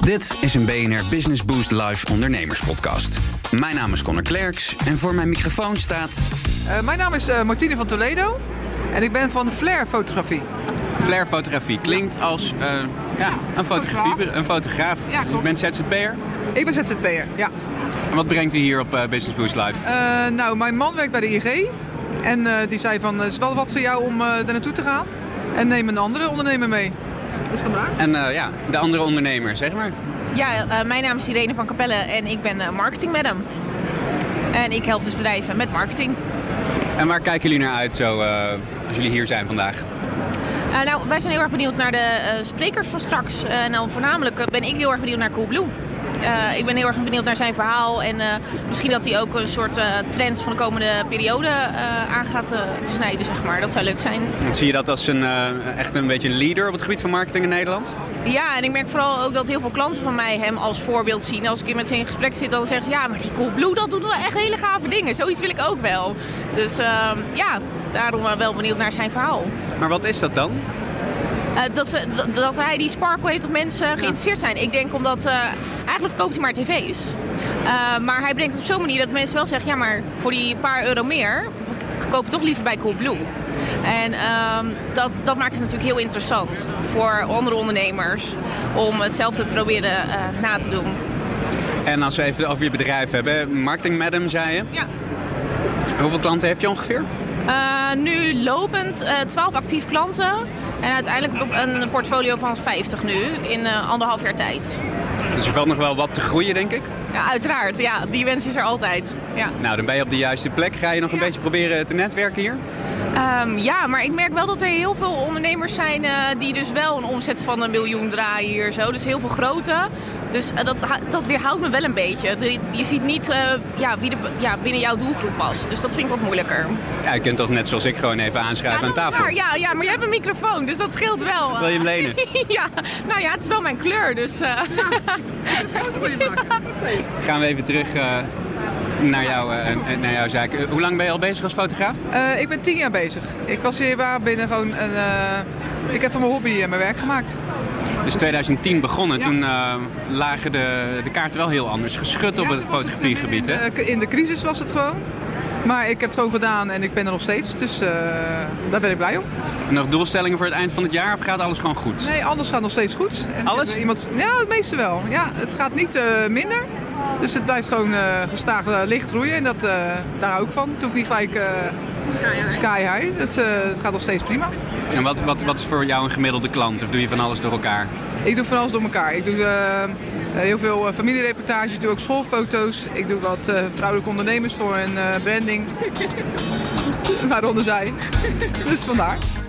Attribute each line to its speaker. Speaker 1: Dit is een BNR Business Boost Live ondernemerspodcast. Mijn naam is Connor Klerks en voor mijn microfoon staat...
Speaker 2: Eh, mijn naam is eh, Martine van Toledo en ik ben van Flair Fotografie.
Speaker 3: Flairfotografie klinkt als eh, ja, een, fotografie,
Speaker 2: Fotograaf.
Speaker 3: een fotograaf.
Speaker 2: Ja, klopt.
Speaker 3: Je bent ZZP'er.
Speaker 2: Ik ben ZZP'er, ja.
Speaker 3: En wat brengt u hier op eh, Business Boost Live?
Speaker 2: Eh, nou, mijn man werkt bij de IG en eh, die zei van, eh, is wel wat voor jou om eh, daar naartoe te gaan en neem een andere ondernemer mee. Dus vandaar.
Speaker 3: En eh, ja, de andere ondernemer, zeg maar.
Speaker 4: Ja, eh, mijn naam is Irene van Capelle en ik ben eh, marketing madam. En ik help dus bedrijven met marketing.
Speaker 3: En waar kijken jullie naar uit zo, eh, als jullie hier zijn vandaag?
Speaker 4: Eh, nou, wij zijn heel erg benieuwd naar de eh, sprekers van straks. en nou, voornamelijk eh, ben ik heel erg benieuwd naar Coolblue. Eh ik ben heel erg benieuwd naar zijn verhaal. En eh, misschien dat hij ook een soort eh, trends van de komende periode eh, aan gaat eh, snijden, zeg maar. Dat zou leuk zijn.
Speaker 3: En Zie je dat als een, eh, echt een beetje een leader op het gebied van marketing in Nederland?
Speaker 4: Ja, en ik merk vooral ook dat heel veel klanten van mij hem als voorbeeld zien. Als ik hier met ze in gesprek zit, dan zeggen ze... ja, maar die Coolblue, dat doet wel echt hele gave dingen. Zoiets wil ik ook wel. Dus ehm, ja, daarom eh, wel benieuwd naar zijn verhaal.
Speaker 3: Maar wat is dat dan?
Speaker 4: Eh, dat, ze, dat, dat hij die sparkle heeft dat mensen geïnteresseerd zijn. Ik denk omdat... eh, eigenlijk verkoopt hij maar tv's. Eh, maar hij brengt het op zo'n manier dat mensen wel zeggen... ja, maar voor die paar euro meer... ik koop het toch liever bij Coolblue. En ehm, dat, dat maakt het natuurlijk heel interessant voor andere ondernemers om hetzelfde te proberen eh, na te doen.
Speaker 3: En als we even over je bedrijf hebben, marketing madam zei je.
Speaker 4: Ja.
Speaker 3: Hoeveel klanten heb je ongeveer?
Speaker 4: Eh, nu lopend eh 12 actief klanten en uiteindelijk op een portfolio van 50 nu in eh, anderhalf jaar tijd.
Speaker 3: Dus er valt nog wel wat te groeien, denk ik.
Speaker 4: Ja, uiteraard, ja, die wens is er altijd. Ja.
Speaker 3: Nou, dan ben je op de juiste plek. Ga je nog een beetje proberen te netwerken hier?
Speaker 4: Ehm, ja, maar ik merk wel dat er heel veel ondernemers zijn eh, die dus wel een omzet van een miljoen draaien hier zo. Dus heel veel grote. Dus eh, dat, ha- dat weerhoudt me wel een beetje. De- je ziet niet eh, ja, wie de, ja, binnen jouw doelgroep past. Dus dat vind ik wat moeilijker.
Speaker 3: Ja, je kunt dat net zoals ik gewoon even aanschrijven
Speaker 4: ja,
Speaker 3: aan
Speaker 4: dat is
Speaker 3: tafel.
Speaker 4: waar. Ja, ja, maar jij hebt een microfoon, dus dat scheelt wel.
Speaker 3: Wil je hem lenen?
Speaker 4: ja, nou ja, het is wel mijn kleur, dus... eh,
Speaker 3: Gaan we even terug eh, naar, jou, eh, eh, naar jouw zaak. Eh, hoe lang ben je al bezig als fotograaf?
Speaker 2: Eh, ik ben tien jaar bezig. Ik was hier waar binnen gewoon een... eh, ik heb van mijn hobby eh, mijn werk gemaakt.
Speaker 3: Dus 2010 begonnen.
Speaker 2: Ja.
Speaker 3: Toen eh, lagen de, de kaarten wel heel anders geschud op
Speaker 2: Ja,
Speaker 3: het
Speaker 2: toen was het, eh,
Speaker 3: fotografiegebied. Hè?
Speaker 2: midden In de, in de crisis was het gewoon. Maar ik heb het gewoon gedaan en ik ben er nog steeds. Dus eh, daar ben ik blij om.
Speaker 3: Nog doelstellingen voor het eind van het jaar of gaat alles gewoon goed?
Speaker 2: Nee, alles gaat nog steeds goed. En
Speaker 3: Alles?
Speaker 2: ik heb Iemand, ja, het meeste wel. Ja, het gaat niet eh, minder. Dus het blijft gewoon eh, gestaag eh, licht groeien. En dat, eh, daar hou ik van. Het hoeft niet gelijk eh, sky high. Het, eh, het gaat nog steeds prima.
Speaker 3: En wat, wat, wat is voor jou een gemiddelde klant? Of doe je van alles door elkaar?
Speaker 2: Ik doe van alles door elkaar. Ik doe eh, eh, heel veel eh, familiereportages, ik doe ook schoolfoto's. Ik doe wat eh, vrouwelijke ondernemers voor hun eh, branding. Waaronder zij. dus vandaar.